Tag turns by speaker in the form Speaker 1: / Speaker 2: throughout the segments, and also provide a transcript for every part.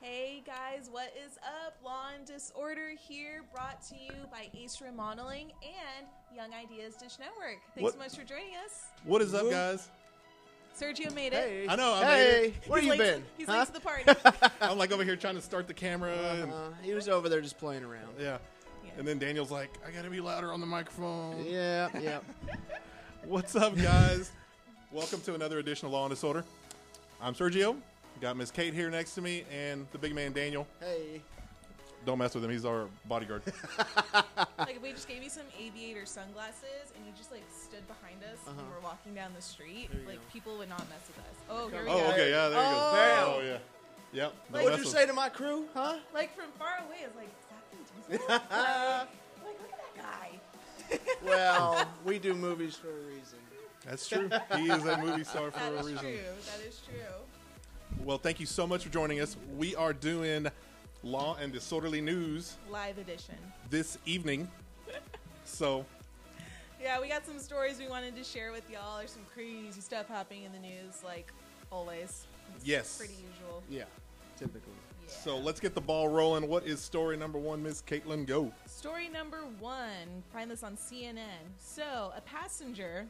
Speaker 1: Hey guys, what is up? Law and Disorder here, brought to you by Ace Modeling and Young Ideas Dish Network. Thanks
Speaker 2: What-
Speaker 1: so much for joining us.
Speaker 2: What is up, guys?
Speaker 1: Sergio made it.
Speaker 2: I know. I'm,
Speaker 3: Hey,
Speaker 2: here-
Speaker 3: where
Speaker 1: He's late-
Speaker 3: you been?
Speaker 1: He's
Speaker 3: huh?
Speaker 1: late to the party.
Speaker 2: I'm like over here trying to start the camera. And,
Speaker 3: Uh, he was over there just playing around.
Speaker 2: yeah.
Speaker 1: Yeah.
Speaker 2: And then Daniel's like, I gotta be louder on the microphone.
Speaker 3: Yeah, yeah.
Speaker 2: What's up, guys? Welcome to another edition of Law and Disorder. I'm Sergio. Got Miss Kate here next to me, and the big man Daniel.
Speaker 3: hey,
Speaker 2: Don't mess with him; he's our bodyguard.
Speaker 1: like if we just gave you some aviator sunglasses and you just like stood behind us and we were walking down the street,
Speaker 3: you
Speaker 1: like
Speaker 3: go.
Speaker 1: people would not mess with us. Oh, here we
Speaker 2: oh,
Speaker 1: go.
Speaker 2: okay, yeah, there you go.
Speaker 3: Oh.
Speaker 2: Oh, yeah, yep. don't
Speaker 3: what'd
Speaker 2: mess
Speaker 3: you
Speaker 2: with-
Speaker 3: say to my crew, huh?
Speaker 1: Like from far away, it's like, is that Vin Diesel?" like, like, look at that guy.
Speaker 3: Well, we do movies for a reason.
Speaker 2: That's true. He is a movie star for
Speaker 1: That
Speaker 2: a
Speaker 1: is
Speaker 2: reason.
Speaker 1: true. That is true.
Speaker 2: Well, thank you so much for joining us. We are doing Law and Disorderly News
Speaker 1: Live edition.
Speaker 2: this evening, so
Speaker 1: Yeah, we got some stories we wanted to share with y'all. There's some crazy stuff happening in the news, like always. It's
Speaker 2: Yes.
Speaker 1: Pretty usual.
Speaker 3: Yeah, typically.
Speaker 1: Yeah.
Speaker 2: So let's get the ball rolling. What is story number one, Miss Caitlin? Go.
Speaker 1: Story number one. Find this on CNN. So, a passenger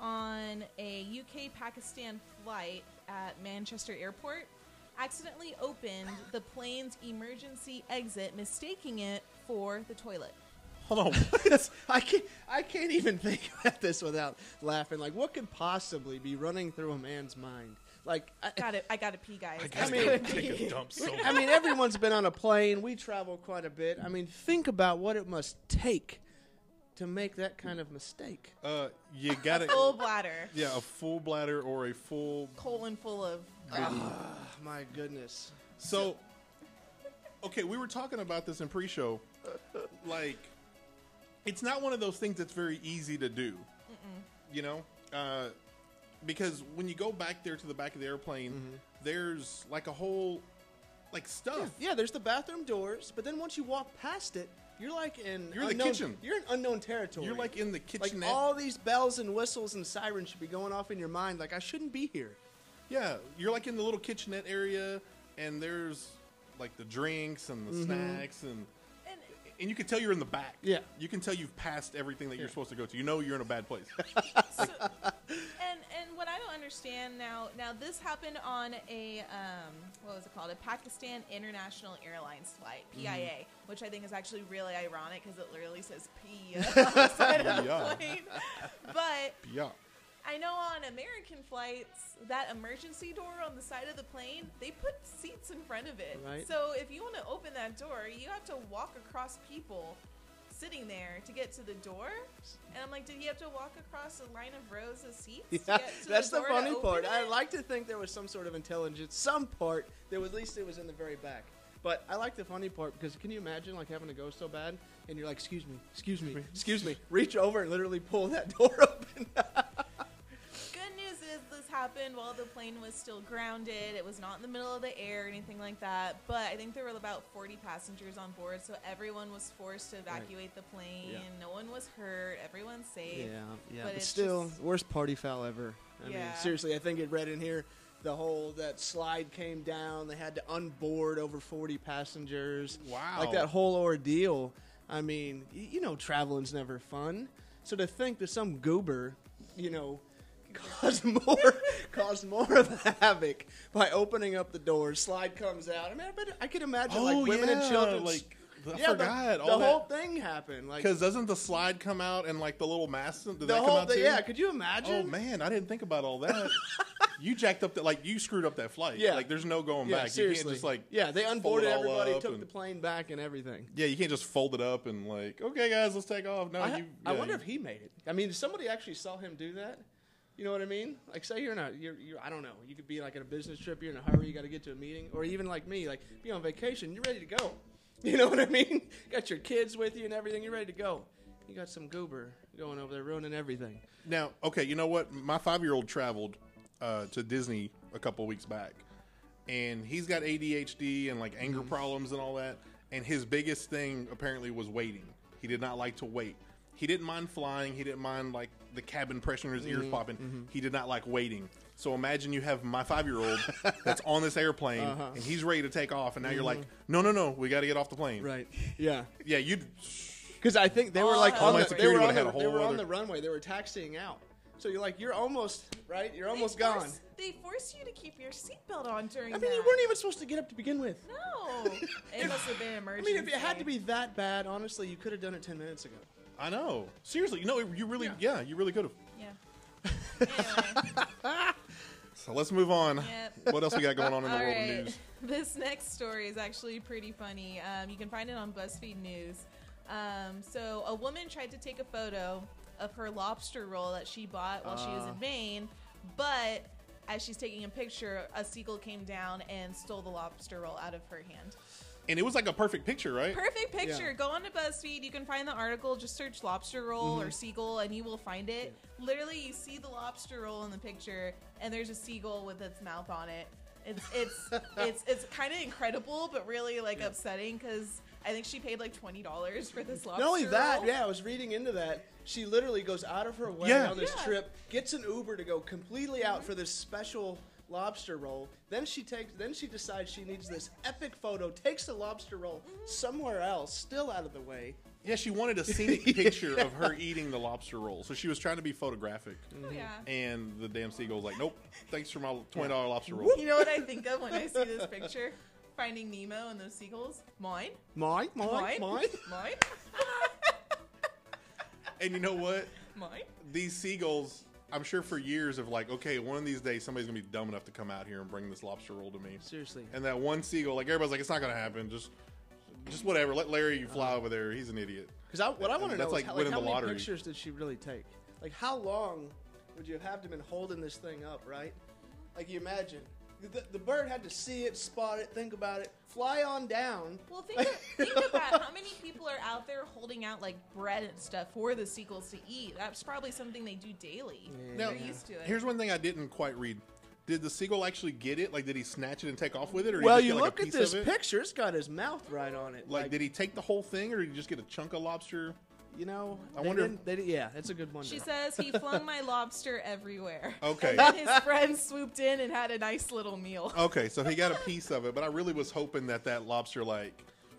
Speaker 1: on a UK Pakistan flight at Manchester Airport accidentally opened the plane's emergency exit, mistaking it for the toilet.
Speaker 2: Hold on.
Speaker 3: I can't. I can't even think about this without laughing. Like, what could possibly be running through a man's mind? Like, I,
Speaker 1: Got it. I got to pee, guys.
Speaker 3: I mean-
Speaker 2: take a dump so
Speaker 3: I mean, everyone's been on a plane. We travel quite a bit. I mean, think about what it must take to make that kind of mistake.
Speaker 2: Uh, you got it.
Speaker 1: full bladder,
Speaker 2: Yeah, a full bladder or a full.
Speaker 1: colon full of.
Speaker 3: Oh, my goodness.
Speaker 2: So, okay, we were talking about this in pre-show. Like, it's not one of those things that's very easy to do. You know, uh, because when you go back there to the back of the airplane,
Speaker 3: Mm-hmm.
Speaker 2: there's like a whole like stuff.
Speaker 3: Yeah, there's the bathroom doors, but then once you walk past it, you're like in
Speaker 2: You're in the
Speaker 3: unknown,
Speaker 2: kitchen.
Speaker 3: You're in unknown territory.
Speaker 2: You're like in the
Speaker 3: like
Speaker 2: kitchen.
Speaker 3: all these bells and whistles and sirens should be going off in your mind. Like I shouldn't be here.
Speaker 2: Yeah, you're like in the little kitchenette area, and there's like the drinks and the snacks, and
Speaker 1: And
Speaker 2: and you can tell you're in the back.
Speaker 3: Mm-hmm. Yeah.
Speaker 2: you can tell you've passed everything that you're supposed to go to. You know you're in a bad place.
Speaker 1: So- and and what I don't understand now now this happened on a um, what was it called a Pakistan International Airlines flight PIA which I think is actually really ironic because it literally says PIA on the side of
Speaker 2: Yeah.
Speaker 1: the plane but
Speaker 2: yeah,
Speaker 1: I know on American flights that emergency door on the side of the plane they put seats in front of it
Speaker 3: Right.
Speaker 1: so if you want to open that door you have to walk across people sitting there to get to the door. And I'm like, did he have to walk across a line of rows of seats? to get to
Speaker 3: that's the,
Speaker 1: door to
Speaker 3: funny
Speaker 1: open
Speaker 3: part. I
Speaker 1: it?
Speaker 3: like to think there was some sort of intelligence, some part that at least it was in the very back. But I like the funny part because can you imagine like having to go so bad and you're like, excuse me, excuse me, excuse me, reach over and literally pull that door open.
Speaker 1: Good news is this happened while the plane was still grounded. It was not in the middle of the air or anything like that. But I think there were about 40 passengers on board, so everyone was forced to evacuate the plane.
Speaker 3: Yeah.
Speaker 1: No one was hurt. Everyone's safe.
Speaker 3: yeah.
Speaker 1: But
Speaker 3: But,
Speaker 1: it's
Speaker 3: still,
Speaker 1: just-
Speaker 3: worst party foul ever. I mean,
Speaker 1: Yeah.
Speaker 3: seriously, I think it read in here the whole that slide came down. They had to unboard over forty passengers.
Speaker 2: Wow.
Speaker 3: Like that whole ordeal. I mean, y- you know, traveling's never fun. So to think that some goober, you know. Caused more, caused more of havoc by opening up the doors. Slide comes out. I mean, I, bet, I could imagine
Speaker 2: Oh,
Speaker 3: like women
Speaker 2: yeah,
Speaker 3: and children.
Speaker 2: like, I
Speaker 3: yeah, the-
Speaker 2: forgot
Speaker 3: the,
Speaker 2: all that-
Speaker 3: whole thing happened. Like
Speaker 2: because doesn't the slide come out and like the little mask? Did
Speaker 3: the
Speaker 2: that come
Speaker 3: whole
Speaker 2: out too?
Speaker 3: thing. Yeah, could you imagine?
Speaker 2: Oh man, I didn't think about all that. you jacked up that like you screwed up that flight.
Speaker 3: Yeah.
Speaker 2: like there's no going
Speaker 3: Yeah,
Speaker 2: back. You
Speaker 3: seriously.
Speaker 2: can't just like
Speaker 3: yeah, they
Speaker 2: fold
Speaker 3: unboarded
Speaker 2: it all
Speaker 3: everybody,
Speaker 2: up
Speaker 3: took
Speaker 2: and-
Speaker 3: the plane back, and everything.
Speaker 2: yeah, you can't just fold it up and like okay guys, let's take off. No,
Speaker 3: I,
Speaker 2: you.
Speaker 3: I
Speaker 2: yeah,
Speaker 3: wonder
Speaker 2: you-
Speaker 3: if he made it. I mean, if somebody actually saw him do that. You know what I mean? Like, say you're not, you're, you're, I don't know. You could be like on a business trip. You're in a hurry. You got to get to a meeting, or even like me, like be on vacation. You're ready to go. You know what I mean? got your kids with you and everything. You're ready to go. You got some goober going over there ruining everything.
Speaker 2: Now, okay, you know what? My five year old traveled uh, to Disney a couple weeks back, and he's got ADHD and like anger problems and all that. And his biggest thing apparently was waiting. He did not like to wait.
Speaker 3: Mm-hmm,
Speaker 2: He didn't mind flying. He didn't mind like the cabin pressure in his ears popping. He did not like waiting. So imagine you have my five year old that's on this airplane
Speaker 3: Uh-huh. Mm-hmm.
Speaker 2: and he's ready to take off, and now you're like, no, no, no, we got to get off the plane.
Speaker 3: Right. Yeah.
Speaker 2: Yeah, you.
Speaker 3: Because I think they were
Speaker 1: Oh,
Speaker 3: like
Speaker 1: hell
Speaker 3: on
Speaker 1: no.
Speaker 3: the, they
Speaker 2: Security
Speaker 3: were, on
Speaker 2: would've
Speaker 3: the,
Speaker 2: had a
Speaker 3: they
Speaker 2: whole
Speaker 3: were on
Speaker 2: other-
Speaker 3: the runway. They were taxiing out. So you're like, you're almost right. You're
Speaker 1: They
Speaker 3: almost gone.
Speaker 1: force- They force you to keep your seatbelt on during.
Speaker 3: I mean, you
Speaker 1: that.
Speaker 3: weren't even supposed to get up to begin with.
Speaker 1: No, it must have been an
Speaker 3: I
Speaker 1: emergency.
Speaker 3: mean, if it had to be that bad, honestly, you could have done it ten minutes ago.
Speaker 2: I know. Seriously, no, you really, yeah, you really could have.
Speaker 1: yeah. Anyway,
Speaker 2: So let's move on.
Speaker 1: Yep.
Speaker 2: What else we got going on in the
Speaker 1: all
Speaker 2: world
Speaker 1: right.
Speaker 2: of news?
Speaker 1: This next story is actually pretty funny. Um, you can find it on BuzzFeed News. Um, so, a woman tried to take a photo of her lobster roll that she bought while she was
Speaker 3: Uh.
Speaker 1: in Maine, but as she's taking a picture, a seagull came down and stole the lobster roll out of her hand.
Speaker 2: And it was like a perfect picture, right?
Speaker 1: Perfect picture.
Speaker 3: Yeah.
Speaker 1: Go on to BuzzFeed. You can find the article. Just search lobster roll
Speaker 3: Mm-hmm.
Speaker 1: or seagull, and you will find it. Literally, you see the lobster roll in the picture, and there's a seagull with its mouth on it. It's it's it's it's kind of incredible, but really like upsetting because I think she paid like twenty dollars for this lobster.
Speaker 3: Not only that,
Speaker 1: roll.
Speaker 3: yeah, I was reading into that. She literally goes out of her way
Speaker 2: Yeah.
Speaker 3: on this
Speaker 1: Yeah.
Speaker 3: trip, gets an Uber to go completely out for this special lobster roll. Then she takes, then she decides she needs this epic photo, takes the lobster roll
Speaker 1: Mm-hmm.
Speaker 3: somewhere else, still out of the way.
Speaker 2: Yeah, she wanted a scenic picture of her eating the lobster roll. So she was trying to be photographic.
Speaker 1: Oh, yeah.
Speaker 2: And the damn seagull's like, nope, thanks for my $20 lobster roll.
Speaker 1: You know what I think of when I see this picture? Finding Nemo and those seagulls. Mine.
Speaker 3: Mine,
Speaker 1: Mine.
Speaker 3: mine, mine.
Speaker 1: Mine.
Speaker 2: And you know what?
Speaker 1: Mine.
Speaker 2: These seagulls, I'm sure for years of like, okay, one of these days somebody's going to be dumb enough to come out here and bring this lobster roll to me.
Speaker 3: Seriously.
Speaker 2: And that one seagull, like everybody's like, it's not going to happen. Just, just whatever. Let Larry fly over there. He's an idiot.
Speaker 3: Because I, what I want to know
Speaker 2: That's
Speaker 3: is
Speaker 2: like
Speaker 3: how,
Speaker 2: winning
Speaker 3: how
Speaker 2: the
Speaker 3: many
Speaker 2: lottery.
Speaker 3: pictures did she really take? Like, how long would you have to been holding this thing up, right? Like, you imagine. The, the bird had to see it, spot it, think about it, fly on down.
Speaker 1: Well, think, think about how many people are out there holding out like bread and stuff for the sequels to eat. That's probably something they do daily.
Speaker 2: Now,
Speaker 1: They're used to it.
Speaker 2: here's one thing I didn't quite read. Did the seagull actually get it? Like, did he snatch it and take off with it? Or did
Speaker 3: Well,
Speaker 2: he
Speaker 3: you
Speaker 2: just get, like,
Speaker 3: look
Speaker 2: a
Speaker 3: at
Speaker 2: piece
Speaker 3: this
Speaker 2: of it?
Speaker 3: picture; it's got his mouth right on it.
Speaker 2: Like, did he take the whole thing, or did he just get a chunk of lobster?
Speaker 3: you know?
Speaker 2: I
Speaker 3: they
Speaker 2: wonder if-
Speaker 3: didn't- they didn't- yeah, that's a good one.
Speaker 1: she says he flung my lobster everywhere.
Speaker 2: Okay. Oh.
Speaker 1: And then his friend swooped in and had a nice little meal.
Speaker 2: Okay, so he got a piece of it, but I really was hoping that that lobster, like,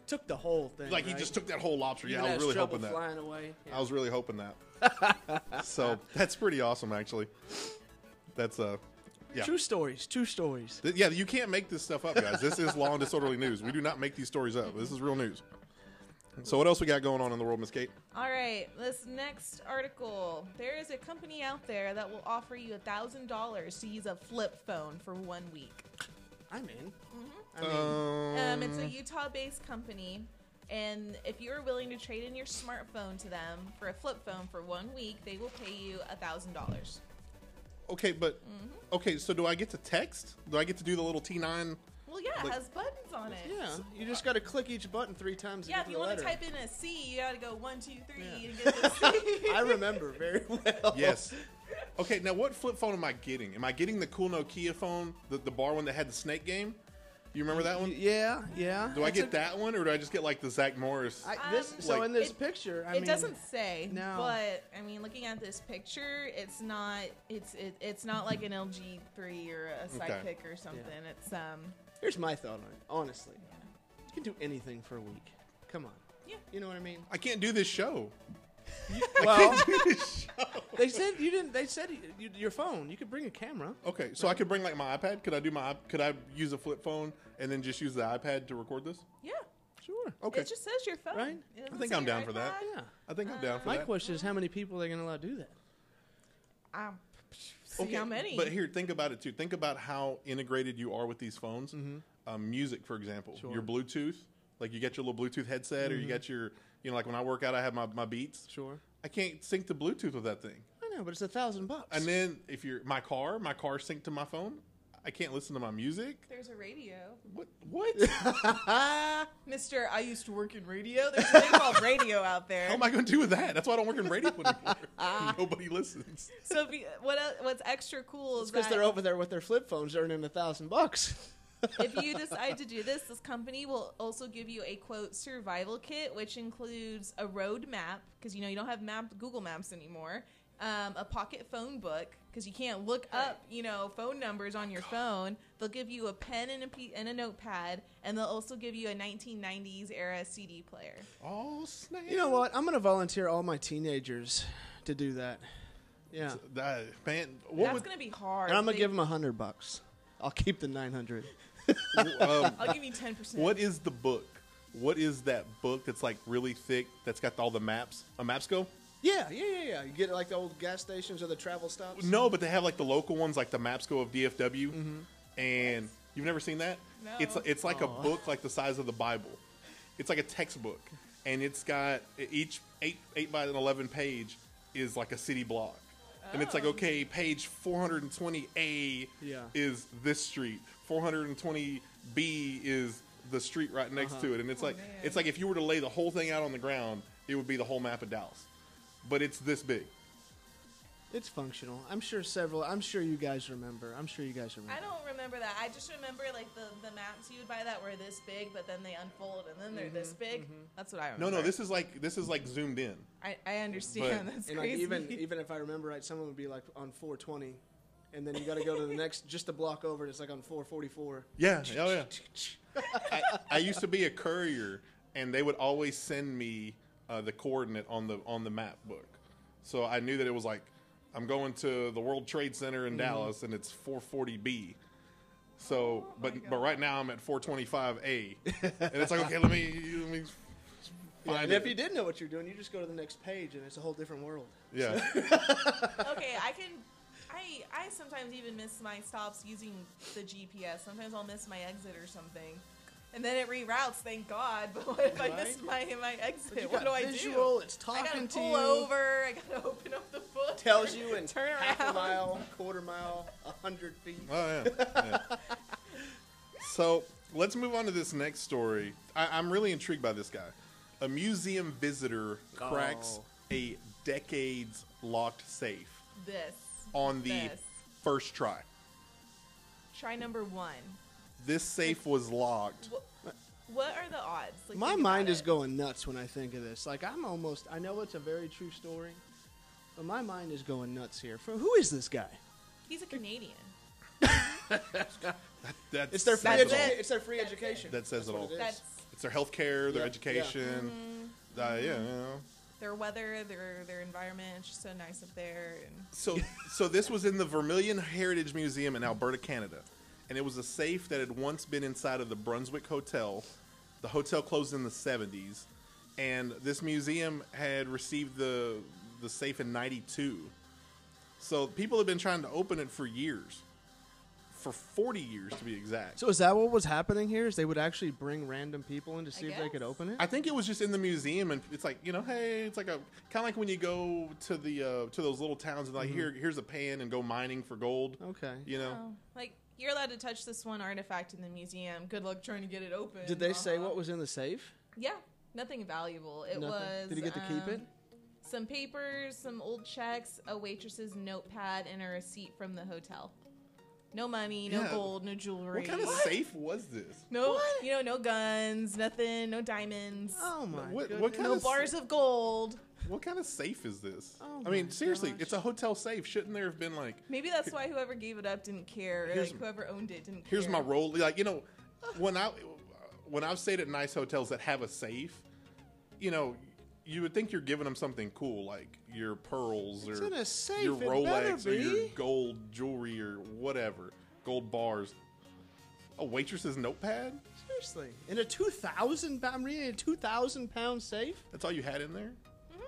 Speaker 3: took the whole thing.
Speaker 2: like
Speaker 3: right?
Speaker 2: he just took that whole lobster. Yeah,
Speaker 3: Even
Speaker 2: I
Speaker 3: has
Speaker 2: was really
Speaker 3: trouble
Speaker 2: hoping that. Uh,
Speaker 3: Flying away. Yeah.
Speaker 2: I was really hoping that. so that's pretty awesome, actually. That's uh, yeah.
Speaker 3: True stories. True stories.
Speaker 2: Th- Yeah, you can't make this stuff up, guys. This is law and disorderly news. We do not make these stories up. This is real news. So what else we got going on in the world, Miss Kate?
Speaker 1: All right, this next article. There is a company out there that will offer you a thousand dollars to use a flip phone for one week.
Speaker 3: I'm in. I mean,
Speaker 2: Um,
Speaker 1: Um, it's a Utah-based company, and if you are willing to trade in your smartphone to them for a flip phone for one week, they will pay you a thousand dollars.
Speaker 2: okay, but okay. So do I get to text? Do I get to do the little T nine?
Speaker 1: Well, yeah, it
Speaker 2: Like-
Speaker 1: has buttons on it.
Speaker 3: yeah. You just got to click each button three times. To
Speaker 1: Yeah,
Speaker 3: get
Speaker 1: if
Speaker 3: to
Speaker 1: you
Speaker 3: the
Speaker 1: want
Speaker 3: letter.
Speaker 1: to type in a C, you got to go one, two, three,
Speaker 3: Yeah.
Speaker 1: and get the C.
Speaker 3: I remember very well.
Speaker 2: Yes. Okay, now what flip phone am I getting? Am I getting the cool Nokia phone, the, the bar one that had the snake game? You remember that one?
Speaker 3: Yeah, yeah.
Speaker 2: Do I
Speaker 3: It's
Speaker 2: get
Speaker 3: a-
Speaker 2: that one, or do I just get like the Zach Morris?
Speaker 3: I, this,
Speaker 1: Um,
Speaker 3: so
Speaker 2: Like-
Speaker 3: in this
Speaker 1: It-
Speaker 3: picture, I
Speaker 1: it
Speaker 3: mean,
Speaker 1: doesn't say,
Speaker 3: No.
Speaker 1: but I mean, looking at this picture, it's not it's it, it's not like an LG three or a Sidekick or something. It's um,
Speaker 3: Here's my thought on it. Honestly, you can do anything for a week. Come on.
Speaker 1: Yeah.
Speaker 3: You know what I mean?
Speaker 2: I can't do this show.
Speaker 3: Well,
Speaker 2: Do this show.
Speaker 3: they said you didn't. They said you, you, your phone. You could bring a camera.
Speaker 2: Okay, so I could bring like my iPad. Could I do my? iP- Could I use a flip phone and then just use the iPad to record this?
Speaker 1: yeah,
Speaker 3: Sure.
Speaker 2: Okay,
Speaker 1: it just says your phone.
Speaker 3: Right?
Speaker 1: It doesn't
Speaker 2: I think
Speaker 1: say
Speaker 2: I'm
Speaker 1: your
Speaker 2: down for that.
Speaker 1: iPod.
Speaker 3: Oh, Yeah.
Speaker 2: I think I'm down for
Speaker 3: My
Speaker 2: that.
Speaker 3: question is, how many people are going to allow to do that?
Speaker 1: Um, see how many.
Speaker 2: But here, think about it too. Think about how integrated you are with these phones. Um, music, for example,
Speaker 3: Mm-hmm. Sure. Mm-hmm.
Speaker 2: your Bluetooth, like you got your little Bluetooth headset, or you got your, you know, like when I work out, I have my, my Beats.
Speaker 3: Sure.
Speaker 2: I can't sync to Bluetooth with that thing.
Speaker 3: I know, but it's a thousand bucks.
Speaker 2: And then if you're my car, my car synced to my phone. I can't listen to my music.
Speaker 1: There's a radio.
Speaker 2: What? What? Uh,
Speaker 1: Mister, I used to work in radio. There's a thing called radio out there.
Speaker 2: How am I going to do with that? That's why I don't work in radio anymore. Nobody listens.
Speaker 1: so if you, what el what's extra cool is
Speaker 3: because they're
Speaker 1: that
Speaker 3: over there with their flip phones earning a thousand bucks.
Speaker 1: if you decide to do this, this company will also give you a quote survival kit, which includes a road map because you know you don't have map Google Maps anymore. um, a pocket phone book because you can't look up, you know, phone numbers on your phone. They'll give you a pen and a pe- and a notepad, and they'll also give you a 1990s era CD player.
Speaker 2: Oh snap!
Speaker 3: You know what? I'm going to volunteer all my teenagers to do that. Yeah.
Speaker 2: That, man, what
Speaker 1: That's
Speaker 2: would,
Speaker 1: gonna be hard.
Speaker 3: And I'm going
Speaker 1: They-
Speaker 3: to give them a 100 bucks. I'll keep the 900.
Speaker 2: um,
Speaker 1: I'll give you 10. percent
Speaker 2: what is the book? What is that book that's like really thick that's got all the maps? A Mapsco?
Speaker 3: Yeah, yeah, yeah, yeah. You get like the old gas stations or the travel stops.
Speaker 2: No, but they have like the local ones, like the Mapsco of DFW. And you've never seen that?
Speaker 1: Mm-hmm. No.
Speaker 2: It's it's like a book like the size of the Bible. It's like a textbook, and it's got e, each eight eight by an eleven page is like a city block, and it's like
Speaker 1: Oh.
Speaker 2: okay, page four hundred and twenty A
Speaker 3: Yeah.
Speaker 2: is this street, four hundred and twenty B is the street right next to it, and it's like
Speaker 1: Uh-huh. Oh, man.
Speaker 2: it's like if you were to lay the whole thing out on the ground, it would be the whole map of Dallas, but it's this big.
Speaker 3: It's functional. I'm sure several. I'm sure you guys remember. I'm sure you guys remember.
Speaker 1: I don't remember that. I just remember like the, the maps you would buy that were this big, but then they unfold and then they're this
Speaker 3: Mm-hmm,
Speaker 1: big. That's what I
Speaker 2: No,
Speaker 1: remember.
Speaker 2: no, this is like this is like zoomed in.
Speaker 1: I, I understand.
Speaker 2: But-
Speaker 1: That's
Speaker 3: And like
Speaker 1: crazy.
Speaker 3: even even if I remember right, someone would be like on 420, and then you got to go to the next just a block over. and It's like on 444.
Speaker 2: Yeah, oh yeah. I, I used to be a courier, and they would always send me uh, the coordinate on the on the map book, so I knew that it was like I'm going to the World Trade Center in Dallas, and it's 440B. So,
Speaker 1: Oh, my
Speaker 2: but but
Speaker 1: God.
Speaker 2: right now I'm at 425A, and it's like okay, let me let me
Speaker 3: Yeah,
Speaker 2: find
Speaker 3: and if
Speaker 2: it.
Speaker 3: you did know what you're doing, you just go to the next page, and it's a whole different world.
Speaker 2: yeah.
Speaker 1: okay, I can. I I sometimes even miss my stops using the GPS. Sometimes I'll miss my exit or something, and then it reroutes. Thank God. But what if I miss my my
Speaker 3: But you
Speaker 1: exit? What do
Speaker 3: got
Speaker 1: I
Speaker 3: visual,
Speaker 1: do?
Speaker 3: It's
Speaker 1: I gotta
Speaker 3: talking to
Speaker 1: pull
Speaker 3: you.
Speaker 1: over. I gotta open up the book.
Speaker 3: Tells you in
Speaker 1: Turn
Speaker 3: half a
Speaker 1: around.
Speaker 3: mile, quarter mile, a hundred feet.
Speaker 2: Oh yeah. yeah. so let's move on to this next story. I, I'm really intrigued by this guy. A museum visitor cracks
Speaker 3: Oh.
Speaker 2: a decades locked safe
Speaker 1: This
Speaker 2: on the
Speaker 1: This.
Speaker 2: first try.
Speaker 1: try number one.
Speaker 2: This safe was locked.
Speaker 1: What, what are the odds? Like,
Speaker 3: My
Speaker 1: think about
Speaker 3: mind is
Speaker 1: it.
Speaker 3: going nuts when I think of this. Like I'm almost. I know it's a very true story, but my mind is going nuts here. For who is this guy?
Speaker 1: He's a Canadian.
Speaker 2: That
Speaker 3: It's their free.
Speaker 2: says it all.
Speaker 3: Educa-
Speaker 1: it.
Speaker 3: it's their free
Speaker 1: That's it.
Speaker 3: education.
Speaker 2: That says it
Speaker 3: what
Speaker 2: all.
Speaker 3: is.
Speaker 1: That's
Speaker 2: It's their healthcare, their
Speaker 3: Yeah, yeah.
Speaker 2: education. Uh, yeah, you know.
Speaker 1: their weather, their their environment. It's just so nice up there. And
Speaker 2: So, so this was in the Vermilion Heritage Museum in Alberta, Canada, and it was a safe that had once been inside of the Brunswick Hotel. The hotel closed in the '70s, and this museum had received the the safe in '92. So people have been trying to open it for years, for 40 years to be exact.
Speaker 3: So is that what was happening here? Is they would actually bring random people in to see if they
Speaker 1: guess.
Speaker 3: could open it?
Speaker 2: I think it was just in the museum, and it's like you know, hey, it's like a kind of like when you go to the uh, to those little towns and like here here's a pan and go mining for gold.
Speaker 3: Mm-hmm. okay.
Speaker 2: You know.
Speaker 1: Oh, like you're allowed to touch this one artifact in the museum. Good luck trying to get it open.
Speaker 3: Did they say
Speaker 1: Uh-huh.
Speaker 3: what was in the safe?
Speaker 1: Yeah, nothing valuable. It
Speaker 3: Nothing?
Speaker 1: was.
Speaker 3: Did he get to keep it?
Speaker 1: um, Some papers, some old checks, a waitress's notepad, and a receipt from the hotel. No money, no
Speaker 2: Yeah.
Speaker 1: gold, no jewelry.
Speaker 2: What kind of safe was this?
Speaker 1: no, you know, no guns, nothing, no diamonds,
Speaker 3: Oh my
Speaker 2: What-
Speaker 3: goodness.
Speaker 2: what kind
Speaker 1: no
Speaker 2: of-
Speaker 1: bars of gold.
Speaker 2: What kind of safe is this?
Speaker 3: Oh
Speaker 2: I mean,
Speaker 3: my
Speaker 2: seriously,
Speaker 3: gosh.
Speaker 2: it's a hotel safe. Shouldn't there have been like,
Speaker 1: Maybe that's why whoever gave it up didn't care. or,
Speaker 2: Here's-
Speaker 1: like whoever owned it didn't care.
Speaker 2: here's my role? Like, you know, when I when I've stayed at nice hotels that have a safe, you know, you would think you're giving them something cool, like your pearls
Speaker 3: It's
Speaker 2: or
Speaker 3: in a safe,
Speaker 2: your
Speaker 3: it better
Speaker 2: Rolex or your
Speaker 3: be.
Speaker 2: gold jewelry or whatever, gold bars. A waitress's notepad?
Speaker 3: Seriously, in a two thousand. I'm reading a two thousand pound safe.
Speaker 2: That's all you had in there.
Speaker 1: Mm-hmm.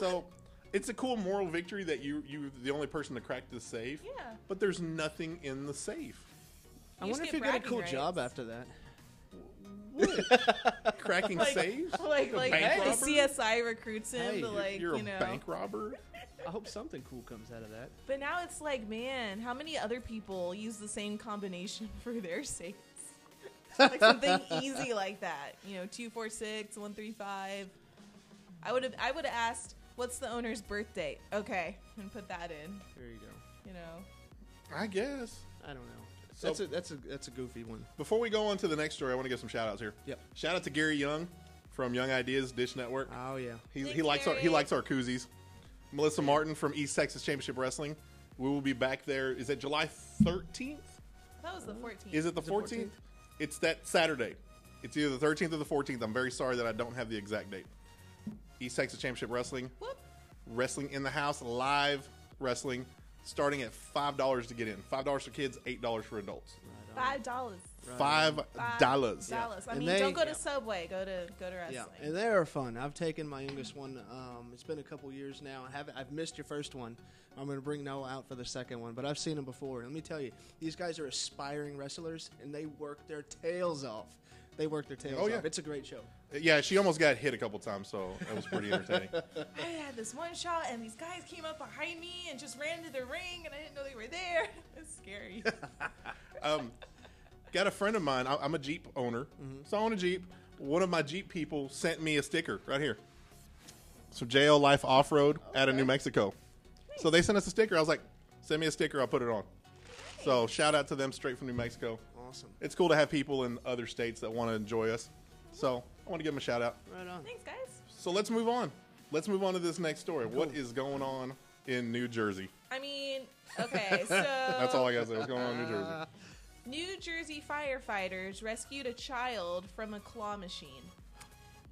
Speaker 2: So, it's a cool moral victory that you you the only person to crack the safe.
Speaker 1: Yeah.
Speaker 2: But there's nothing in the safe.
Speaker 3: I
Speaker 1: You
Speaker 3: wonder
Speaker 1: just
Speaker 3: if you got a
Speaker 1: bragging
Speaker 3: cool
Speaker 1: rights.
Speaker 3: job after that.
Speaker 2: What? Cracking
Speaker 1: Like,
Speaker 2: safes?
Speaker 1: like,
Speaker 2: You're a
Speaker 1: like
Speaker 2: bank
Speaker 1: the
Speaker 2: robber?
Speaker 1: CSI recruits him
Speaker 3: Hey,
Speaker 1: to
Speaker 3: you're-
Speaker 1: like
Speaker 2: You're
Speaker 1: you know.
Speaker 2: a bank robber?
Speaker 3: I hope something cool comes out of that.
Speaker 1: But now it's like, man, how many other people use the same combination for their safes? like something easy like that, you know, two four six one three five. I would have, I would have asked, what's the owner's birth date? Okay, and put that in.
Speaker 3: There you go.
Speaker 1: You know,
Speaker 2: I guess.
Speaker 3: I don't know.
Speaker 2: So-
Speaker 3: that's a that's a that's a goofy one.
Speaker 2: Before we go on to the next story, I want to give some shout outs here.
Speaker 3: Yep.
Speaker 2: Shout out to Gary Young from Young Ideas Dish Network.
Speaker 3: Oh yeah.
Speaker 2: He,
Speaker 1: Hey,
Speaker 2: he likes our he
Speaker 1: Gary.
Speaker 2: likes our koozies. Melissa Martin from East Texas Championship Wrestling. We will be back there. Is it July 13th?
Speaker 1: That was the 14th.
Speaker 2: Is it the
Speaker 3: Is it 14th?
Speaker 2: 14th? It's that Saturday. It's either the 13th or the 14th. I'm very sorry that I don't have the exact date. East Texas Championship Wrestling.
Speaker 1: Whoop.
Speaker 2: Wrestling in the House, live wrestling, starting at $5 to get in. $5 for kids, $8 for adults.
Speaker 1: Five dollars.
Speaker 2: $5.
Speaker 1: Dollars.
Speaker 3: Yeah.
Speaker 1: I
Speaker 3: And
Speaker 1: mean,
Speaker 3: they-
Speaker 1: don't go
Speaker 3: yeah.
Speaker 1: to Subway. Go to go to
Speaker 3: Yeah,
Speaker 1: wrestling.
Speaker 3: and they are fun. I've taken my youngest one. Um, it's been a couple years now. I haven't. I've missed your first one. I'm going to bring Noah out for the second one, but I've seen him before. Let me tell you, these guys are aspiring wrestlers, and they work their tails off. They work their tails
Speaker 2: Oh, yeah.
Speaker 3: off. It's a great show.
Speaker 2: Yeah, she almost got hit a couple times, so that was pretty entertaining.
Speaker 1: I had this one shot, and these guys came up behind me and just ran to the ring, and I didn't know they were there. It's scary.
Speaker 2: um, got a friend of mine. I, I'm a Jeep owner, so I own a Jeep. One of my Jeep people sent me a sticker right here. So JL Life Off Road out of New Mexico. So they sent us a sticker. I was like, send me a sticker. I'll put it on. So shout out to them straight from New Mexico.
Speaker 3: Awesome.
Speaker 2: It's cool to have people in other states that want to enjoy us. So I want to give them a shout out.
Speaker 3: Right on.
Speaker 1: Thanks, guys.
Speaker 2: So let's move on. Let's move on to this next story. What is going on in New Jersey?
Speaker 1: I mean, okay, so
Speaker 2: That's all I got to say. What's going on in New Jersey?
Speaker 1: New Jersey firefighters rescued a child from a claw machine.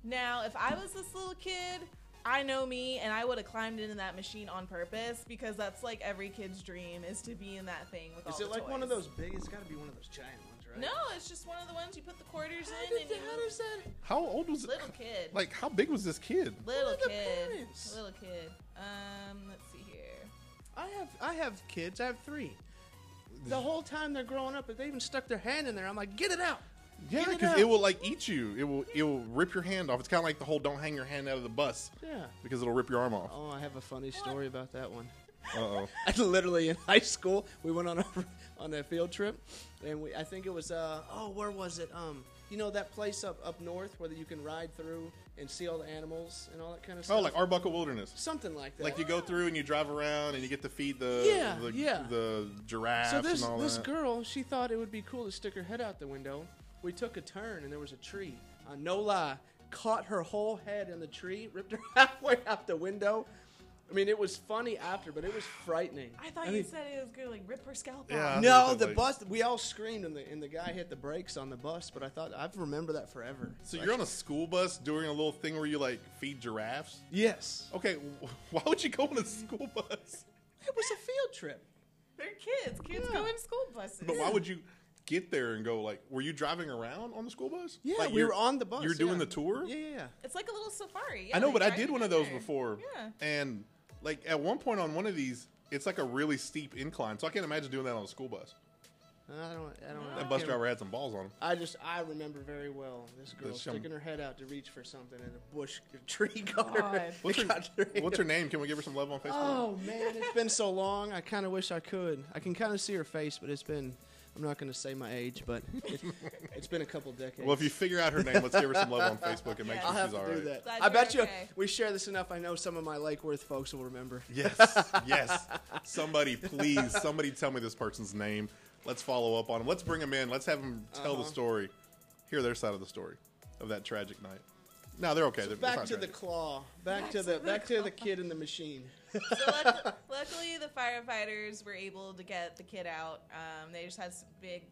Speaker 1: Now, if I was this little kid, I know me, and I would have climbed into that machine on purpose because that's like every kid's dream is to be in that thing with all
Speaker 3: Is
Speaker 1: the
Speaker 3: it like one
Speaker 1: toys.
Speaker 3: of those big? It's got to be one of those giant ones, right?
Speaker 1: No, it's just one of the ones you put the quarters
Speaker 3: How,
Speaker 1: in, and
Speaker 3: did,
Speaker 1: you
Speaker 3: how does that?
Speaker 2: How old was
Speaker 1: little
Speaker 2: it?
Speaker 1: kid.
Speaker 2: Like, how big was this kid?
Speaker 1: Little
Speaker 3: What are the
Speaker 1: kid.
Speaker 3: parents?
Speaker 1: Little kid. Um, let's see here.
Speaker 3: I have I have kids. I have three. The whole time they're growing up, if they even stuck their hand in there, I'm like, get it out.
Speaker 2: Yeah,
Speaker 3: Get it
Speaker 2: because
Speaker 3: out.
Speaker 2: it, will like eat you. It will it will rip your hand off. It's kind of like the whole "don't hang your hand out of the bus"
Speaker 3: Yeah.
Speaker 2: because it'll rip your arm off.
Speaker 3: Oh, I have a funny story about that one.
Speaker 2: Uh oh.
Speaker 3: I literally in high school, we went on a on a field trip, and we I think it was uh oh where was it um you know that place up up north where you can ride through and see all the animals and all that kind of stuff.
Speaker 2: Oh, like Arbuckle Wilderness.
Speaker 3: something like that.
Speaker 2: Like you go through and you drive around and you get to feed the
Speaker 3: Yeah,
Speaker 2: the,
Speaker 3: yeah.
Speaker 2: the giraffes
Speaker 3: so this
Speaker 2: and all
Speaker 3: this
Speaker 2: that.
Speaker 3: girl, she thought it would be cool to stick her head out the window. We took a turn and there was a tree. Uh, no lie, caught her whole head in the tree, ripped her halfway out the window. I mean, it was funny after, but it was frightening.
Speaker 1: I thought you
Speaker 3: mean,
Speaker 1: said it was gonna like rip her scalp
Speaker 2: Yeah.
Speaker 1: off.
Speaker 2: I
Speaker 3: No,
Speaker 2: think
Speaker 3: the
Speaker 2: like-
Speaker 3: bus. We all screamed, and the and the guy hit the brakes on the bus. But I thought I remember that forever.
Speaker 2: so you're on a school bus doing a little thing where you like feed giraffes.
Speaker 3: Yes,
Speaker 2: Okay, wh- why would you go on a school bus?
Speaker 3: it was a field trip.
Speaker 1: They're kids. Kids
Speaker 3: Yeah.
Speaker 1: go in school buses.
Speaker 2: But why would you get there and go like? Were you driving around on the school bus?
Speaker 3: Yeah,
Speaker 2: Like,
Speaker 3: we
Speaker 2: you're-
Speaker 3: were on the bus.
Speaker 2: You're doing
Speaker 3: yeah.
Speaker 2: the tour.
Speaker 3: Yeah, yeah, yeah.
Speaker 1: It's like a little safari.
Speaker 2: I know,
Speaker 1: yeah,
Speaker 2: but I
Speaker 1: right
Speaker 2: did one of those
Speaker 1: together.
Speaker 2: before.
Speaker 1: Yeah.
Speaker 2: And like at one point on one of these, it's like a really steep incline, so I can't imagine doing that on a school bus.
Speaker 3: I don't. I don't. know. I
Speaker 2: That bus
Speaker 3: can't-
Speaker 2: driver had some balls on him.
Speaker 3: I just I remember very well this girl
Speaker 2: That's some-
Speaker 3: sticking her head out to reach for something, and a bush a tree got her.
Speaker 1: God.
Speaker 2: What's her,
Speaker 3: got her hand.
Speaker 2: what's her name? Can we give her some love on Facebook?
Speaker 3: Oh man, it's been so long. I kind of wish I could. I can kind of see her face, but it's been. I'm not going to say my age, but it's, it's been a couple decades.
Speaker 2: Well, if you figure out her name, let's give her some love on Facebook and make
Speaker 1: Yeah.
Speaker 2: sure
Speaker 3: I'll have
Speaker 2: she's all
Speaker 3: to
Speaker 2: right.
Speaker 3: do that.
Speaker 1: Glad
Speaker 3: I
Speaker 1: you're
Speaker 3: bet you
Speaker 1: okay.
Speaker 3: we share this enough. I know some of my Lake Worth folks will remember.
Speaker 2: Yes, yes. Somebody, please, somebody tell me this person's name. Let's follow up on him. Let's bring him in. Let's have him tell the
Speaker 3: Uh-huh.
Speaker 2: story, hear their side of the story of that tragic night. No, they're okay. They're- it's
Speaker 3: Back
Speaker 2: not
Speaker 3: to the
Speaker 2: tragic.
Speaker 3: claw. Back, to the, back to the kid in the machine.
Speaker 1: so luck- luckily, the firefighters were able to get the kid out. Um, they just had some big,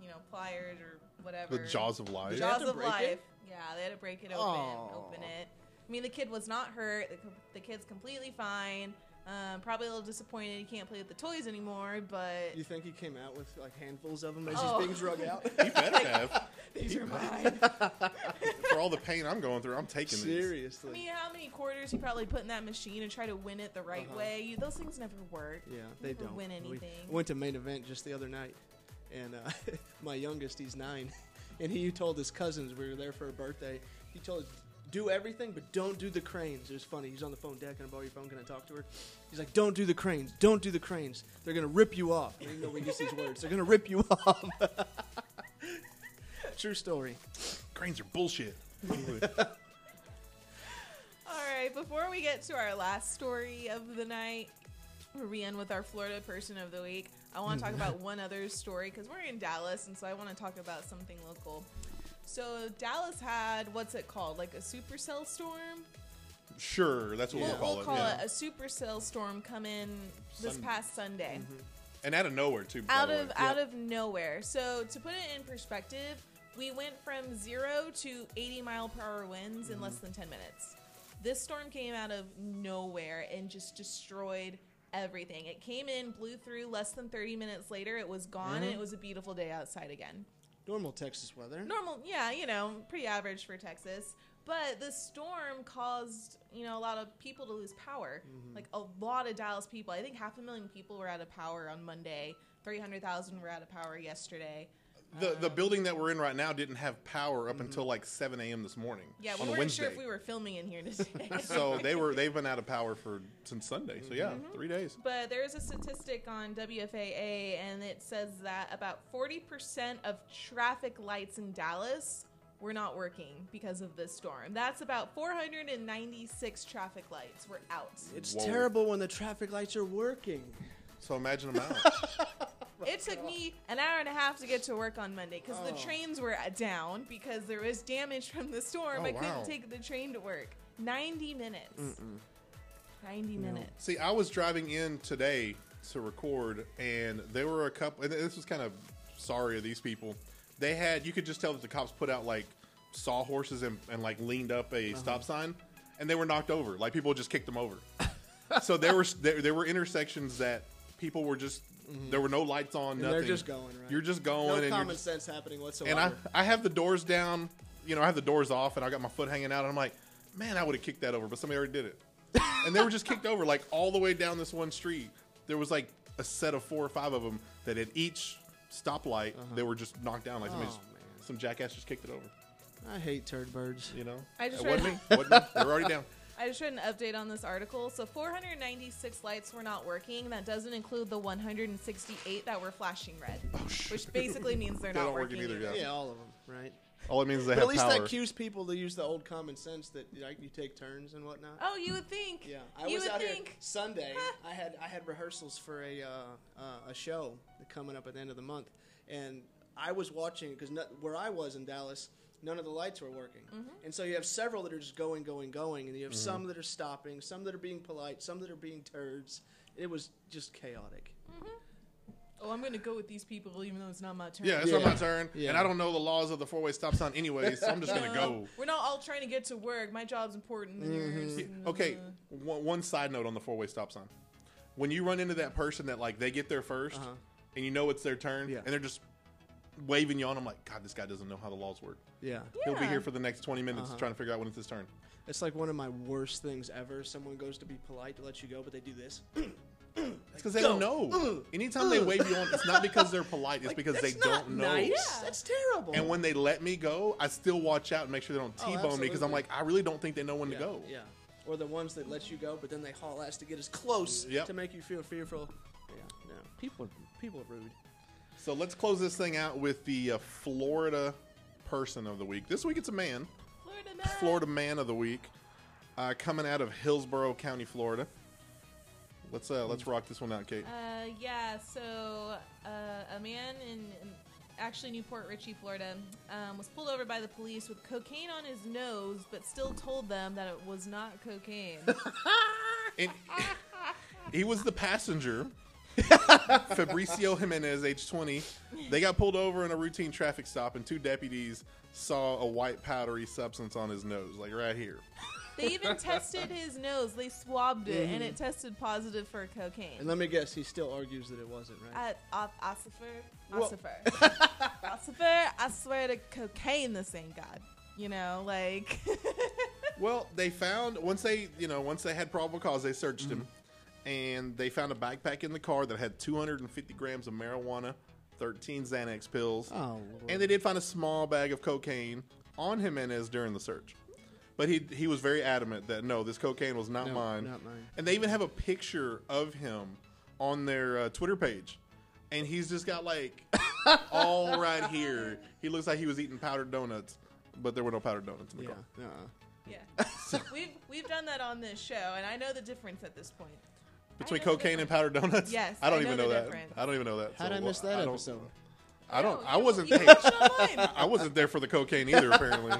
Speaker 1: you know, pliers or whatever.
Speaker 2: the jaws of life.
Speaker 3: Did they have
Speaker 1: Jaws
Speaker 3: to
Speaker 1: of
Speaker 3: break
Speaker 1: life.
Speaker 3: it?
Speaker 1: Yeah, they had to break it open,
Speaker 3: Aw.
Speaker 1: open it. I mean, the kid was not hurt. The, co- the kid's completely fine. Um, probably a little disappointed he can't play with the toys anymore, but
Speaker 3: You think he came out with like handfuls of them as
Speaker 1: Oh.
Speaker 3: he's being drug out?
Speaker 2: You better have.
Speaker 1: these are mine.
Speaker 2: For all the pain I'm going through, I'm taking these.
Speaker 1: I mean,
Speaker 3: Seriously.
Speaker 1: how many quarters you probably put in that machine and try to win it the right
Speaker 3: Uh-huh.
Speaker 1: way? You, those things never work.
Speaker 3: Yeah, they
Speaker 1: never
Speaker 3: don't
Speaker 1: win
Speaker 3: We-
Speaker 1: anything.
Speaker 3: I went to main event just the other night, and uh, my youngest, he's nine, and he told his cousins we were there for a birthday. He told us do everything, but don't do the cranes. It was funny. He's on the phone. Dad, can I borrow your phone? Can I talk to her? He's like, don't do the cranes. Don't do the cranes. They're gonna rip you off. And Even though we use these words, they're gonna rip you off. True story.
Speaker 2: Grains are bullshit.
Speaker 1: All right, before we get to our last story of the night, where we end with our Florida person of the week, I want to talk about one other story because we're in Dallas, and so I want to talk about something local. So Dallas had what's it called, like a supercell storm?
Speaker 2: Sure, that's what
Speaker 1: We'll,
Speaker 2: we'll call
Speaker 1: we'll
Speaker 2: it.
Speaker 1: call
Speaker 2: yeah.
Speaker 1: it a super sales storm come in this
Speaker 2: Sun-
Speaker 1: past Sunday.
Speaker 2: and out of nowhere too. by
Speaker 1: out
Speaker 2: the
Speaker 1: of
Speaker 2: way.
Speaker 1: out
Speaker 2: Yeah.
Speaker 1: of nowhere. So to put it in perspective, we went from zero to 80 mile per hour winds in less than 10 minutes. This storm came out of nowhere and just destroyed everything. It came in, blew through. Less than 30 minutes later, it was gone, and it was a beautiful day outside again.
Speaker 3: Normal Texas weather.
Speaker 1: Normal, yeah, you know, pretty average for Texas. But the storm caused, you know, a lot of people to lose power.
Speaker 2: Mm-hmm.
Speaker 1: Like a lot of Dallas people. I think half a million people were out of power on Monday. Three hundred thousand were out of power yesterday.
Speaker 2: the the building that we're in right now didn't have power up until like 7 a.m. this morning.
Speaker 1: Yeah, we
Speaker 2: on a
Speaker 1: weren't
Speaker 2: Wednesday.
Speaker 1: sure if we were filming in here today.
Speaker 2: so they were they've been out of power for since Sunday. So yeah,
Speaker 1: Mm-hmm.
Speaker 2: three days.
Speaker 1: but there is a statistic on WFAA, and it says that about forty percent of traffic lights in Dallas were not working because of this storm. That's about four hundred and ninety-six traffic lights were out.
Speaker 3: It's
Speaker 2: Whoa.
Speaker 3: terrible when the traffic lights are working.
Speaker 2: So imagine them out.
Speaker 1: It took me an hour and a half to get to work on Monday because the
Speaker 3: Oh.
Speaker 1: trains were uh, down because there was damage from the storm.
Speaker 2: Oh,
Speaker 1: I couldn't
Speaker 2: wow.
Speaker 1: take the train to work. 90 minutes. 90 minutes.
Speaker 2: See, I was driving in today to record, and there were a couple. And this was kind of sorry of these people. They had you could just tell that the cops put out like sawhorses and, and like leaned up
Speaker 3: Uh-huh.
Speaker 2: a stop sign, and they were knocked over. Like people just kicked them over. so there were there, there were intersections that people were just there were no lights on.
Speaker 3: Mm-hmm. they're
Speaker 2: nothing.
Speaker 3: just going, right?
Speaker 2: You're just going.
Speaker 3: No
Speaker 2: Oh, and you're
Speaker 3: common
Speaker 2: just-
Speaker 3: sense happening whatsoever.
Speaker 2: and I, I have the doors down. You know, I have the doors off, and I got my foot hanging out, and I'm like, man, I would have kicked that over, but somebody already did it. and they were just kicked over, like all the way down this one street. There was like a set of four or five of them that at each stoplight they were just knocked down, like somebody
Speaker 3: Uh-huh. Oh,
Speaker 2: just-
Speaker 3: man.
Speaker 2: some jackass just kicked it over.
Speaker 3: I hate turd birds.
Speaker 2: You know,
Speaker 1: I just
Speaker 2: it wasn't
Speaker 1: read-
Speaker 2: me. wasn't me. They were already down.
Speaker 1: I just read an update on this article. So 496 lights were not working. That doesn't include the 168 that were flashing red, which basically means they're
Speaker 2: Oh, They
Speaker 1: not
Speaker 2: don't work
Speaker 1: working
Speaker 2: either,
Speaker 1: either.
Speaker 2: yeah.
Speaker 3: Yeah, all of them, right?
Speaker 2: All it means is they
Speaker 3: But
Speaker 2: have
Speaker 3: at least
Speaker 2: power.
Speaker 3: that cues people to use the old common sense that like, you take turns and whatnot.
Speaker 1: Oh, you would think.
Speaker 3: Yeah, I
Speaker 1: you
Speaker 3: was
Speaker 1: would
Speaker 3: out
Speaker 1: think.
Speaker 3: here Sunday. I had I had rehearsals for a uh, uh, a show coming up at the end of the month, and I was watching because no, where I was in Dallas, none of the lights were working,
Speaker 1: Mm-hmm.
Speaker 3: and so you have several that are just going, going, going, and you have some that are stopping, some that are being polite, some that are being turds. It was just chaotic.
Speaker 1: Oh, I'm going to go with these people even though it's not my turn.
Speaker 2: yeah, it's
Speaker 3: Yeah.
Speaker 2: not my turn,
Speaker 3: Yeah.
Speaker 2: and I don't know the laws of the four way stop sign anyway, so I'm just gonna
Speaker 1: No,
Speaker 2: go.
Speaker 1: Uh,
Speaker 2: Mm-hmm.
Speaker 1: We're not all trying to get to work. My job's important than yours.
Speaker 2: Okay,
Speaker 3: Mm-hmm.
Speaker 2: one, one side note on the four-way stop sign. When you run into that person that like they get there 1st
Speaker 3: Uh-huh.
Speaker 2: and you know it's their turn,
Speaker 3: Yeah.
Speaker 2: and they're just waving you on, I'm like, God, this guy doesn't know how the laws work.
Speaker 3: Yeah.
Speaker 2: He'll be
Speaker 1: Yeah.
Speaker 2: here for the next 20 minutes
Speaker 3: Uh-huh.
Speaker 2: trying to figure out when it's his turn.
Speaker 3: It's like one of my worst things ever. Someone goes to be polite to let you go, but they do this.
Speaker 2: It's because they don't know. Anytime they wave you on, it's not because they're polite. It's because they
Speaker 3: That's not
Speaker 2: don't know.
Speaker 3: Nice.
Speaker 1: Yeah.
Speaker 3: That's terrible.
Speaker 2: And when they let me go, I still watch out and make sure they don't
Speaker 3: Oh,
Speaker 2: T-bone me because I'm
Speaker 3: absolutely.
Speaker 2: like, I really don't think they know when
Speaker 3: yeah,
Speaker 2: to go.
Speaker 3: Yeah. Or the ones that let you go, but then they haul ass to get as close
Speaker 2: Yep.
Speaker 3: to make you feel fearful. Yeah. No. People, people are rude.
Speaker 2: So let's close this thing out with the uh, Florida person of the week. This week it's a man.
Speaker 1: Florida man.
Speaker 2: Florida Man of the Week, uh, coming out of Hillsborough County, Florida. Let's uh, let's rock this one out, Kate.
Speaker 1: Uh, yeah, so uh, a man in, in- actually Newport Richie, Florida, um, was pulled over by the police with cocaine on his nose, but still told them that it was not cocaine.
Speaker 2: And he was the passenger, Fabricio Jimenez, age 20. They got pulled over in a routine traffic stop, and two deputies saw a white powdery substance on his nose, like right here.
Speaker 1: they even tested his nose. They swabbed it, and it tested positive for
Speaker 3: Mm-hmm. And
Speaker 1: cocaine.
Speaker 3: let me guess, he still argues that it wasn't, right?
Speaker 1: At Os- Ossifer,
Speaker 3: Well-
Speaker 1: Ossifer, Ossifer, I swear to cocaine, this ain't God. You know, like
Speaker 2: Well, they found once they you know once they had probable cause, they searched him, and they found a backpack in the car that had 250 grams of marijuana, 13 Xanax pills,
Speaker 3: Oh, Lord.
Speaker 2: and they did find a small bag of cocaine on Jimenez during the search. But he he was very adamant that no, this cocaine was not
Speaker 3: No,
Speaker 2: mine.
Speaker 3: not mine.
Speaker 2: And they even have a picture of him on their uh, Twitter page, and he's just got like all right here. He looks like he was eating powdered donuts, but there were no powdered donuts in the
Speaker 3: yeah.
Speaker 2: car.
Speaker 3: Uh-uh.
Speaker 1: Yeah, we've we've done that on this show, and I know the difference at this point.
Speaker 2: Between
Speaker 1: I know the
Speaker 2: cocaine and powdered donuts?
Speaker 1: Yes,
Speaker 2: I don't
Speaker 1: I know
Speaker 2: even
Speaker 1: the
Speaker 2: know that.
Speaker 1: difference.
Speaker 2: I don't even know that.
Speaker 3: How did
Speaker 2: so,
Speaker 3: I
Speaker 2: well,
Speaker 3: miss that
Speaker 2: I don't-
Speaker 3: episode?
Speaker 2: I don't.
Speaker 1: No,
Speaker 2: I
Speaker 1: you-
Speaker 2: wasn't.
Speaker 1: you
Speaker 2: Hey,
Speaker 1: watched it online.
Speaker 2: I wasn't there for the cocaine either, apparently.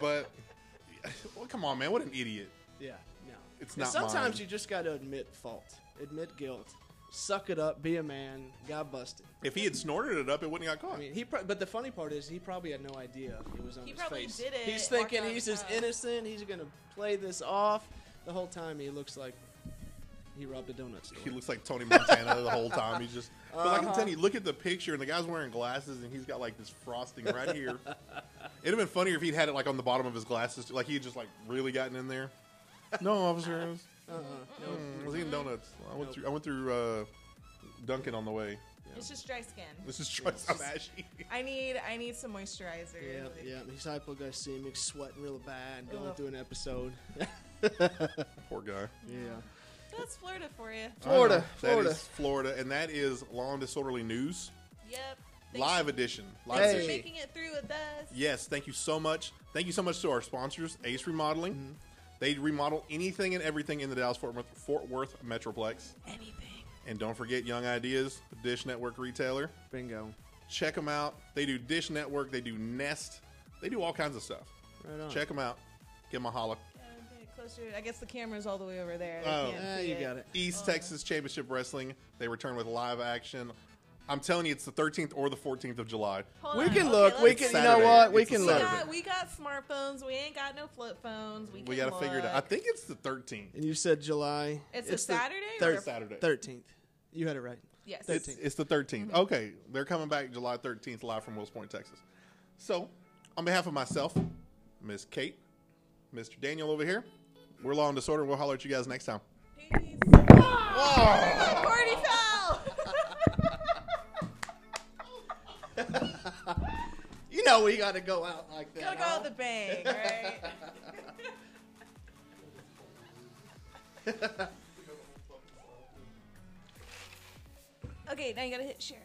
Speaker 2: but Well, come on, man. What an idiot.
Speaker 3: Yeah, no.
Speaker 2: It's
Speaker 3: And
Speaker 2: not
Speaker 3: Sometimes
Speaker 2: mine.
Speaker 3: you just got to admit fault, admit guilt, suck it up, be a man. Got busted.
Speaker 2: If he had snorted it up, it wouldn't have got caught.
Speaker 3: I mean, he. Pro- but the funny part is, he probably had no idea it was on
Speaker 1: He
Speaker 3: his
Speaker 1: probably
Speaker 3: face.
Speaker 1: did it,
Speaker 3: He's
Speaker 1: walked
Speaker 3: thinking
Speaker 1: out
Speaker 3: he's
Speaker 1: of
Speaker 3: just
Speaker 1: town.
Speaker 3: innocent. He's gonna play this off. The whole time he looks like he robbed a donut store.
Speaker 2: he looks like Tony Montana the whole time. He's just. But like I'm
Speaker 3: Uh-huh.
Speaker 2: telling you, look at the picture, and the guy's wearing glasses, and he's got like this frosting right here. It'd have been funnier if he'd had it like on the bottom of his glasses, like he had just like really gotten in there. No, officer, I was,
Speaker 3: uh-uh. No.
Speaker 2: mm, I was eating donuts. I went
Speaker 3: Nope.
Speaker 2: through. I went through uh, Dunkin' on the way.
Speaker 1: It's just dry skin.
Speaker 2: This is Troy
Speaker 3: Yeah.
Speaker 2: Smashy.
Speaker 1: I need I need some moisturizer.
Speaker 3: Yeah,
Speaker 1: Like,
Speaker 3: yeah. He's hypoglycemic, sweating real bad, going
Speaker 1: Ugh.
Speaker 3: through an episode.
Speaker 2: Poor guy.
Speaker 3: Yeah.
Speaker 1: That's Florida for you.
Speaker 3: Florida,
Speaker 2: I know.
Speaker 3: Florida.
Speaker 2: That is Florida, and that is Law and Disorderly News,
Speaker 1: Yep. Thanks-
Speaker 2: live edition. Live
Speaker 1: Thanks
Speaker 3: Hey.
Speaker 1: for
Speaker 2: edition.
Speaker 1: making it through with us.
Speaker 2: Yes, thank you so much. Thank you so much to our sponsors, Ace Remodeling.
Speaker 3: Mm-hmm.
Speaker 2: They remodel anything and everything in the Dallas Fort Worth, Fort Worth Metroplex.
Speaker 1: Anything.
Speaker 2: And don't forget Young Ideas, Dish Network retailer.
Speaker 3: Bingo.
Speaker 2: Check them out. They do Dish Network, they do Nest, they do all kinds of stuff.
Speaker 3: Right on.
Speaker 2: Check them out. Give them a holler.
Speaker 1: Yeah, I'm gonna get closer. I guess the camera's all the way over there. They
Speaker 2: Oh.
Speaker 1: can't
Speaker 3: Ah,
Speaker 1: see
Speaker 3: you got it.
Speaker 2: East Texas Championship Wrestling, they return with live action. I'm telling you, it's the 13th or the 14th of July.
Speaker 1: Hold
Speaker 3: We
Speaker 1: on.
Speaker 3: can
Speaker 1: Okay,
Speaker 3: look. we
Speaker 1: let's
Speaker 3: can.
Speaker 1: see.
Speaker 3: You know
Speaker 2: Saturday.
Speaker 3: what? We
Speaker 2: It's a
Speaker 3: can
Speaker 1: We
Speaker 3: look.
Speaker 2: Saturday.
Speaker 1: got, we got smartphones. We ain't got no flip phones. We,
Speaker 2: We
Speaker 1: can
Speaker 2: got to figure it out. I
Speaker 1: look.
Speaker 2: think it's the 13th.
Speaker 3: And you said July.
Speaker 1: It's a
Speaker 3: the
Speaker 1: Saturday or
Speaker 3: thir-
Speaker 1: a-
Speaker 2: Saturday.
Speaker 3: Thirteenth. You had it right.
Speaker 1: Yes.
Speaker 2: It's, it's the 13th. Okay, they're coming back July 13th live from Wills Point, Texas. So, on behalf of myself, Miss Kate, Mr. Daniel over here, we're Law and Disorder. We'll holler at you guys next time.
Speaker 1: Peace. Party foul.
Speaker 3: You know we got to go out like that.
Speaker 1: Gotta go
Speaker 3: huh?
Speaker 1: out the bang, right? okay, now you gotta hit share.